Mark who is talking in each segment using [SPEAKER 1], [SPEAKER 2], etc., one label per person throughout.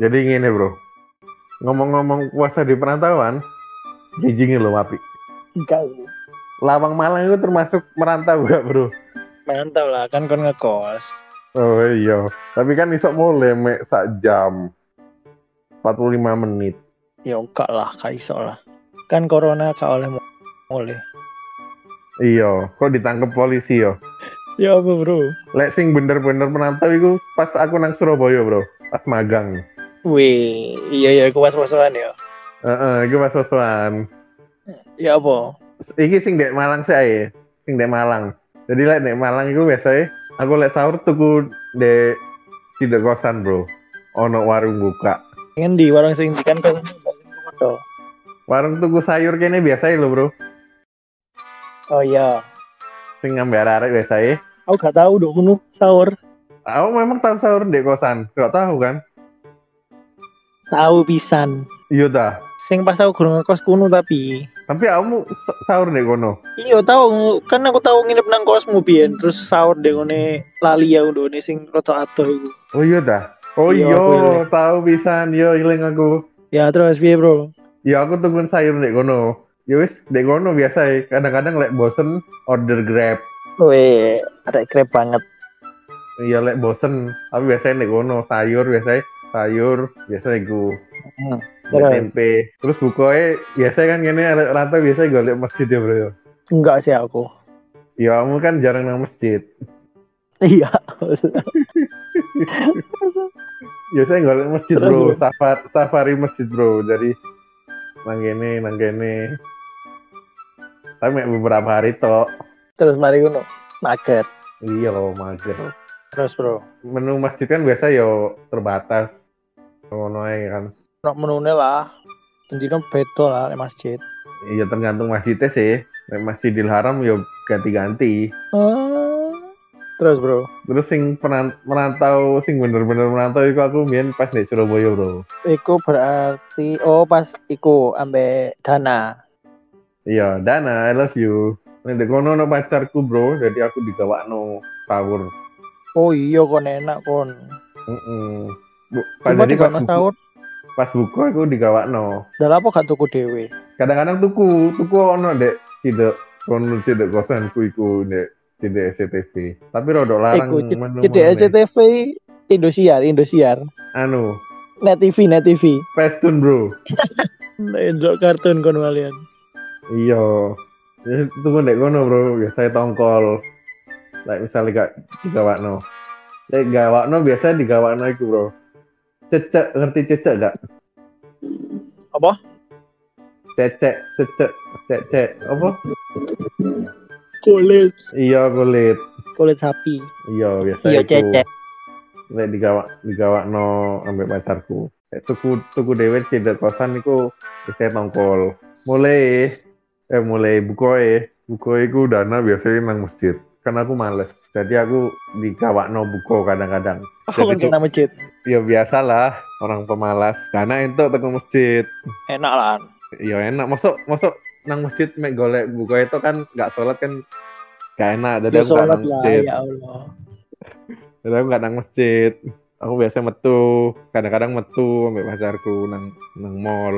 [SPEAKER 1] Jadi gini bro, ngomong-ngomong puasa di perantauan, jijingin lo api.
[SPEAKER 2] Enggak sih.
[SPEAKER 1] Lawang Malang itu termasuk merantau gak bro?
[SPEAKER 2] Mantap lah, kan kon ngekos.
[SPEAKER 1] Oh iya, tapi kan isok mulai mek sak jam 45 menit.
[SPEAKER 2] Ya enggak lah, gak iso lah. Kan corona gak oleh mo- oleh.
[SPEAKER 1] Iya, kok ditangkep polisi yo.
[SPEAKER 2] Ya apa bro?
[SPEAKER 1] Lek sing bener-bener merantau itu pas aku nang Surabaya bro, pas magang.
[SPEAKER 2] Wih, iya iya aku was-wasan ya.
[SPEAKER 1] Heeh, iku pas sosokan.
[SPEAKER 2] Ya apa?
[SPEAKER 1] Iki sing dek Malang saya, sing dek Malang. Jadi lek dek Malang iku biasanya aku lek sahur tuku dek tidak kosan bro. Ono warung buka.
[SPEAKER 2] Pengen di warung sing di kan kosan mbak sing komodo.
[SPEAKER 1] Warung tuku sayur kene biasanya lo bro.
[SPEAKER 2] Oh iya.
[SPEAKER 1] Sing ngambil arek biasanya.
[SPEAKER 2] Aku gak tahu dong kuno sahur.
[SPEAKER 1] Aku memang tahu sahur dek kosan. Gak tahu kan?
[SPEAKER 2] Tahu pisan.
[SPEAKER 1] Iya dah.
[SPEAKER 2] Sing pas aku gurung ngekos kuno tapi
[SPEAKER 1] Tapi kamu sahur dek kono.
[SPEAKER 2] Iya tahu, kan aku tahu nginep nang kosmu biyen terus sahur dengone lali ya ndone sing rada adoh iku.
[SPEAKER 1] Oh iya dah. Oh
[SPEAKER 2] Iya,
[SPEAKER 1] iya,
[SPEAKER 2] aku ilang.
[SPEAKER 1] tahu pisan. Yo ilang aku.
[SPEAKER 2] Ya terus piye, Bro?
[SPEAKER 1] Ya aku tungguin sayur dek kono. Ya wis dek kono biasa kadang-kadang lek bosen order Grab.
[SPEAKER 2] Weh, arek krep banget.
[SPEAKER 1] Iya lek bosen, tapi biasanya nek kono sayur biasanya sayur biasa iku
[SPEAKER 2] Hmm,
[SPEAKER 1] Lek
[SPEAKER 2] Terus
[SPEAKER 1] tempe. Terus bukoe biasanya kan kene arek rata biasa golek masjid ya, Bro. ya.
[SPEAKER 2] enggak sih aku.
[SPEAKER 1] Ya kamu kan jarang nang masjid.
[SPEAKER 2] Iya.
[SPEAKER 1] Biasanya golek masjid,
[SPEAKER 2] Terus,
[SPEAKER 1] Bro.
[SPEAKER 2] Bro.
[SPEAKER 1] Safari, safari masjid, Bro. Dari nang kene, nang kene. Tapi mek beberapa hari tok.
[SPEAKER 2] Terus mari ngono. Mager.
[SPEAKER 1] Iya loh, mager.
[SPEAKER 2] Terus, Bro.
[SPEAKER 1] Menu masjid kan biasa yo terbatas. Ngono ae kan.
[SPEAKER 2] Nek menune lah. Tendino beda lah nek masjid.
[SPEAKER 1] Iya tergantung masjidnya sih. Nek Masjidil Haram yo ganti-ganti.
[SPEAKER 2] Ah. Terus, Bro.
[SPEAKER 1] Terus sing peran- merantau, sing bener-bener merantau itu aku mien pas di Surabaya bro.
[SPEAKER 2] Iku berarti oh pas iku ambe dana.
[SPEAKER 1] Iya, Dana, I love you. Nanti kono no pacarku bro, jadi aku digawa no sahur.
[SPEAKER 2] Oh iya kon enak kon.
[SPEAKER 1] Mm-mm. Bu, pas
[SPEAKER 2] Cuma
[SPEAKER 1] jadi pas,
[SPEAKER 2] dikono
[SPEAKER 1] buku,
[SPEAKER 2] sahur.
[SPEAKER 1] pas buku aku digawa no.
[SPEAKER 2] Dalam apa gak tuku dhewe?
[SPEAKER 1] Kadang-kadang tuku, tuku ono dek tidak kono tidak kosan ku iku dek tidak SCTV. Tapi rodok larang
[SPEAKER 2] Iku,
[SPEAKER 1] menu
[SPEAKER 2] Cedek
[SPEAKER 1] maneh.
[SPEAKER 2] SCTV Indosiar, Indosiar.
[SPEAKER 1] Anu,
[SPEAKER 2] Net TV, Net TV.
[SPEAKER 1] Pestun bro.
[SPEAKER 2] Ndok kartun kon kalian.
[SPEAKER 1] Iya. Ya, Tunggu ndek kono, Bro. Biasanya tongkol. Like misalnya gak digawakno. Lek gawakno biasanya digawakno iku, Bro. Cecek, ngerti cecek gak?
[SPEAKER 2] Apa?
[SPEAKER 1] Cecek, cecek, cecek. Apa?
[SPEAKER 2] Kulit,
[SPEAKER 1] Iya, kulit.
[SPEAKER 2] kulit sapi.
[SPEAKER 1] Iya, biasa
[SPEAKER 2] Iya
[SPEAKER 1] iku.
[SPEAKER 2] cecek.
[SPEAKER 1] Lek digawak digawakno ambek pacarku. Lek tuku tuku dhewe cedek kosan iku biasanya tongkol. Mulai eh mulai bukoe. Bukoe iku dana biasanya nang masjid. Karena aku males. Jadi aku digawakno buko kadang-kadang.
[SPEAKER 2] Aku kan
[SPEAKER 1] Jadi
[SPEAKER 2] kena masjid.
[SPEAKER 1] Ya biasalah orang pemalas. Karena itu teko masjid.
[SPEAKER 2] Enak lah.
[SPEAKER 1] Ya enak. Masuk masuk nang masjid mek golek buko itu kan nggak sholat kan gak enak. Jadi
[SPEAKER 2] Ya
[SPEAKER 1] aku gak nang
[SPEAKER 2] sholat lah,
[SPEAKER 1] masjid.
[SPEAKER 2] ya Allah.
[SPEAKER 1] Jadi aku gak nang masjid. Aku biasanya metu, kadang-kadang metu sampai pacarku nang nang mall.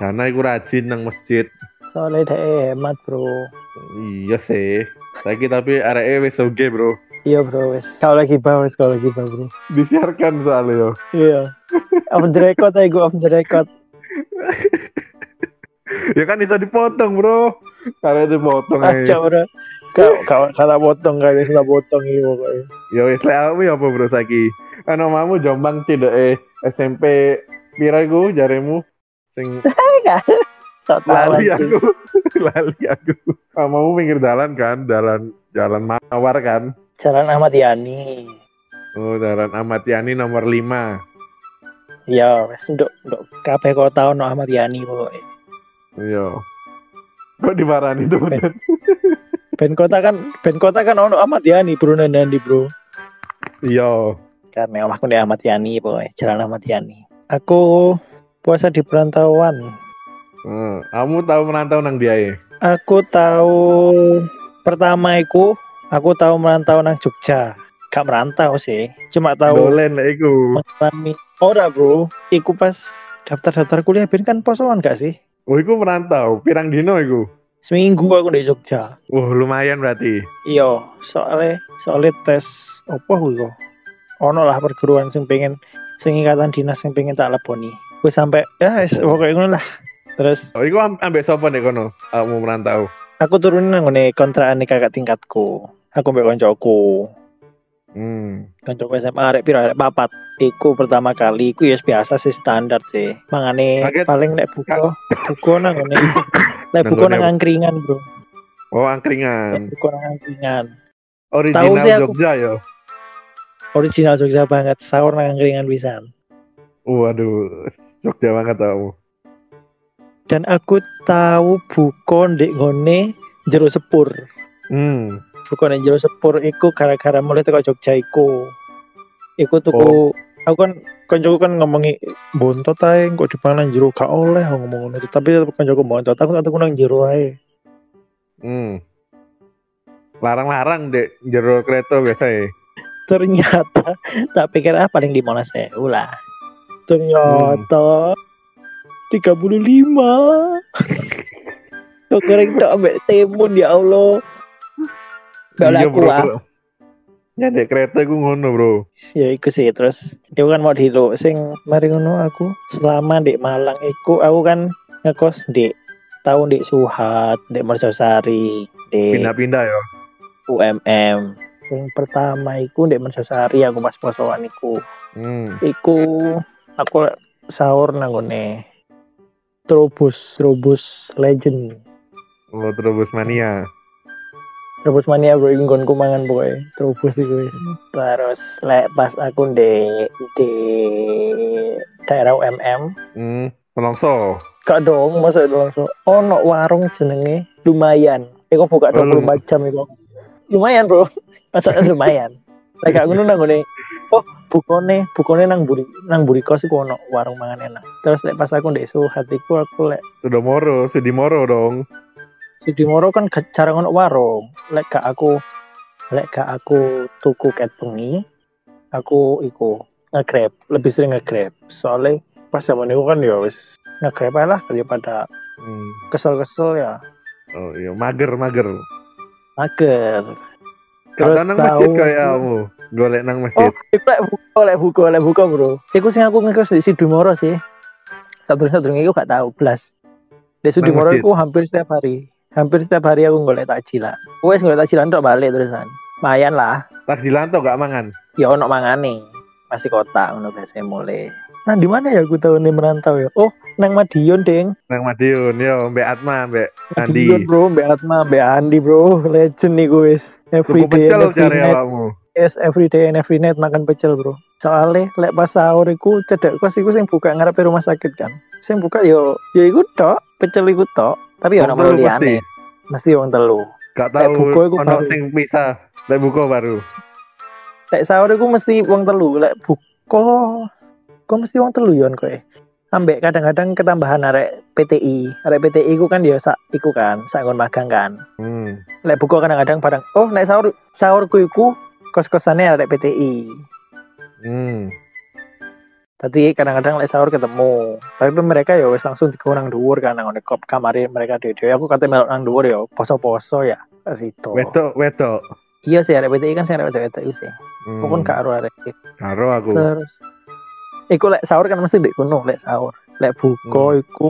[SPEAKER 1] Karena aku rajin nang masjid.
[SPEAKER 2] Soalnya deh hemat bro.
[SPEAKER 1] Iya sih. Saiki tapi areke wis oge, Bro.
[SPEAKER 2] Iya bro, wes. Kau lagi bawa, wes kau lagi bawa bro.
[SPEAKER 1] Disiarkan soalnya yo.
[SPEAKER 2] Iya. Off the record aja gue off the record.
[SPEAKER 1] Ya kan bisa dipotong, Bro. Karena dipotong
[SPEAKER 2] Aja
[SPEAKER 1] aja.
[SPEAKER 2] bro. Kau kau kata potong kali sudah potong ini pokoknya.
[SPEAKER 1] Ya wis lek aku ya apa, Bro, saiki. Ana mamu Jombang eh, cedeke SMP pira iku jaremu sing
[SPEAKER 2] Tak tahu
[SPEAKER 1] lali
[SPEAKER 2] anjing.
[SPEAKER 1] aku. lali aku. Ah, Mamu pinggir jalan kan, jalan jalan mawar kan.
[SPEAKER 2] Jalan Ahmad Yani.
[SPEAKER 1] Oh, Daran Ahmad Yani nomor 5.
[SPEAKER 2] Iya, wes nduk nduk kabeh kota ono Ahmad Yani pokoknya.
[SPEAKER 1] Iya. Kok dimarani tuh,
[SPEAKER 2] Ben.
[SPEAKER 1] Den?
[SPEAKER 2] Ben kota kan ben kota kan ono Ahmad Yani bro Nandandi bro.
[SPEAKER 1] Iya.
[SPEAKER 2] Karena omahku di Ahmad Yani pokoknya jalan Ahmad Yani. Aku puasa di perantauan.
[SPEAKER 1] Heeh. Kamu tahu merantau nang dia ya?
[SPEAKER 2] Aku tahu pertama iku aku tahu merantau nang Jogja. Gak merantau sih, cuma tahu
[SPEAKER 1] Dolen lah iku.
[SPEAKER 2] mengalami Ora bro, iku pas daftar-daftar kuliah ben kan posoan gak sih?
[SPEAKER 1] Oh, iku merantau, pirang dino iku.
[SPEAKER 2] Seminggu aku di Jogja.
[SPEAKER 1] Wah, lumayan berarti.
[SPEAKER 2] Iya, soalnya soalnya tes apa kuwi kok. Ono lah perguruan sing pengen sing ikatan dinas sing pengen tak leboni. Gue sampai ya wis, pokoknya ngono lah. Terus
[SPEAKER 1] Oh, iku am- ambek sapa nek kono? Kamu merantau.
[SPEAKER 2] aku turunin nang ngene kontrakan kakak tingkatku. Aku mbek koncoku.
[SPEAKER 1] Hmm.
[SPEAKER 2] Kancaku SMA arek piro arek papat. Iku pertama kali iku ya biasa sih standar sih. Mangane
[SPEAKER 1] Kaget.
[SPEAKER 2] paling nek buka buka nang ngene. Nek
[SPEAKER 1] Nang
[SPEAKER 2] buka
[SPEAKER 1] ngene
[SPEAKER 2] nang angkringan, Bro.
[SPEAKER 1] Oh,
[SPEAKER 2] Nek
[SPEAKER 1] angkringan.
[SPEAKER 2] buka nang angkringan.
[SPEAKER 1] Original
[SPEAKER 2] Eh, sih aku.
[SPEAKER 1] Jogja ya.
[SPEAKER 2] Original Jogja banget, sahur nang angkringan pisan.
[SPEAKER 1] Waduh, Jogja banget kamu.
[SPEAKER 2] Dan aku tahu buka ndek ngene jero sepur.
[SPEAKER 1] Hmm.
[SPEAKER 2] Buka nang jero sepur iku gara-gara mulai teko Jogja iku. Iku
[SPEAKER 1] Oh.
[SPEAKER 2] tuku aku kan kancaku kan ngomongi bontot ae kok dipangan jero gak oleh aku ngomong ngono tapi tetep kancaku bontot aku tak tuku nang jero ae.
[SPEAKER 1] Hmm. Larang-larang dek jero kereta biasa ya.
[SPEAKER 2] ternyata tak pikir ah paling di Monas EU lah ternyata 35 kok goreng tak ambek timun ya Allah Gak
[SPEAKER 1] Iya,
[SPEAKER 2] laku,
[SPEAKER 1] bro.
[SPEAKER 2] ah.
[SPEAKER 1] Ya dek kereta ku ngono, Bro.
[SPEAKER 2] ya iku sih terus itu kan mau dilo sing mari ngono aku selama di Malang iku aku kan ngekos di tahun di Suhat di Mercosari di
[SPEAKER 1] Pindah-pindah ya.
[SPEAKER 2] UMM sing pertama iku di Mercosari aku pas posoan iku
[SPEAKER 1] Hmm.
[SPEAKER 2] iku aku sahur nang ngone Trobus, Trobus Legend.
[SPEAKER 1] Lo terobos mania.
[SPEAKER 2] Trobus mania bro iku nggonku mangan pokoke. Trobus iku. wis. Terus lek pas aku di di daerah UMM,
[SPEAKER 1] Hmm. Menongso.
[SPEAKER 2] gak dong masa itu langsung Oh, ono warung jenenge lumayan. Iku buka
[SPEAKER 1] Oh,
[SPEAKER 2] 24
[SPEAKER 1] lum-
[SPEAKER 2] jam iku. Lumayan bro. Masaknya lumayan. Lek gak ngono nang ngone. Oh, bukone, bukone nang buri nang buri kos iku ono warung mangan enak. Terus lek pas aku ndek Suhat iku aku lek
[SPEAKER 1] Sudah moro, sudi moro dong.
[SPEAKER 2] Sudimoro kan gak- jarang ono warung. Lek gak aku lek gak aku tuku ket bengi, aku iku nge-grab, lebih sering nge-grab. Soale pas zaman itu kan ya wis nge-grab ae lah daripada
[SPEAKER 1] Hmm.
[SPEAKER 2] kesel-kesel ya.
[SPEAKER 1] Oh iya, mager mager.
[SPEAKER 2] Mager. Terus
[SPEAKER 1] Kadang nang masjid
[SPEAKER 2] tahu-
[SPEAKER 1] kayak kamu. Golek nang
[SPEAKER 2] Oh,
[SPEAKER 1] masjid.
[SPEAKER 2] iku lek buka, lek buka, lek buka, Bro. Iku sing aku ngekos di Sudimoro sih. Satu-satunya iku gak tahu blas. Di Sudimoro
[SPEAKER 1] masjid?
[SPEAKER 2] iku hampir setiap hari. Hampir setiap hari aku golek takjilan. Wes golek takjilan tok balik terusan. Mayan lah.
[SPEAKER 1] Takjilan toh gak mangan.
[SPEAKER 2] ya ono mangane masih kota ono biasanya mulai nah di mana ya aku tahu nih merantau ya oh nang Madiun deng
[SPEAKER 1] Nang Madiun, yo Mbak Atma, Mbak Andi.
[SPEAKER 2] Madiun bro Mbak Atma Mbak Andi bro legend nih gue every
[SPEAKER 1] Tuku
[SPEAKER 2] day and
[SPEAKER 1] pecel
[SPEAKER 2] every
[SPEAKER 1] cari ya,
[SPEAKER 2] night
[SPEAKER 1] awakmu.
[SPEAKER 2] yes every day and every night makan pecel bro soalnya lek pas sahur iku cedek kos iku sing buka ngarepe rumah sakit kan sing buka yo yo iku tok pecel iku tok tapi ya
[SPEAKER 1] Wong
[SPEAKER 2] ono
[SPEAKER 1] telu
[SPEAKER 2] melu
[SPEAKER 1] pasti.
[SPEAKER 2] liane mesti wong telu
[SPEAKER 1] Gak
[SPEAKER 2] Lek
[SPEAKER 1] tahu
[SPEAKER 2] buka iku
[SPEAKER 1] ono
[SPEAKER 2] baru.
[SPEAKER 1] sing pisah. Lek buka baru.
[SPEAKER 2] lek sahur iku mesti wong telu lek buka kok mesti wong telu yon kowe ambek kadang-kadang ketambahan arek PTI arek PTI iku kan ya sak iku kan sak nggon magang kan
[SPEAKER 1] Hmm.
[SPEAKER 2] lek buka kadang-kadang bareng oh lek sahur sahurku iku kos-kosane arek PTI
[SPEAKER 1] Hmm.
[SPEAKER 2] tadi kadang-kadang lek sahur ketemu tapi mereka ya wis langsung dikurang dhuwur kan nang ngene kop kamare mereka dhewe aku kate melok nang dhuwur ya poso-poso ya Pas itu.
[SPEAKER 1] Wedok, wedok.
[SPEAKER 2] Iya sih arek PTI kan sing arek wedok-wedok iku sih.
[SPEAKER 1] Hmm.
[SPEAKER 2] Aku pun gak karo arek
[SPEAKER 1] Karo aku.
[SPEAKER 2] Terus Iku lek sahur kan mesti ndek kono lek sahur. Lek
[SPEAKER 1] Hmm.
[SPEAKER 2] buka iku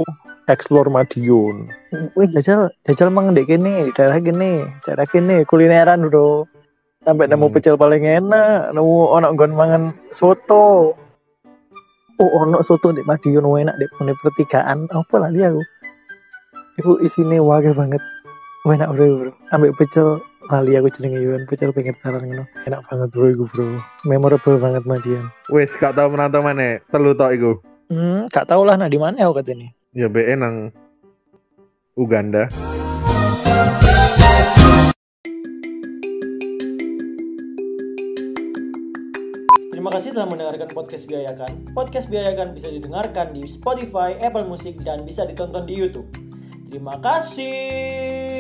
[SPEAKER 2] explore Madiun. Wih jajal jajal mang ndek kene, di daerah kene, daerah kene kulineran bro. Sampai nemu
[SPEAKER 1] Hmm.
[SPEAKER 2] pecel paling enak, nemu ono nggon mangan soto. Oh ono soto ndek Madiun wah enak ndek pune pertigaan. Apa lali aku. Iku isine wae banget. Wah, enak bro, bro. Ambek pecel lali aku jenenge Yuan pecel pinggir taran ngono. Enak banget bro iku bro. Memorable banget Madiun.
[SPEAKER 1] Wis gak tahu merantau mana. Telu tok iku.
[SPEAKER 2] Hmm, gak tau lah nah di mana aku katanya.
[SPEAKER 1] Ya BE nang Uganda.
[SPEAKER 2] Terima kasih telah mendengarkan podcast Biayakan. Podcast Biayakan bisa didengarkan di Spotify, Apple Music, dan bisa ditonton di YouTube. Terima kasih.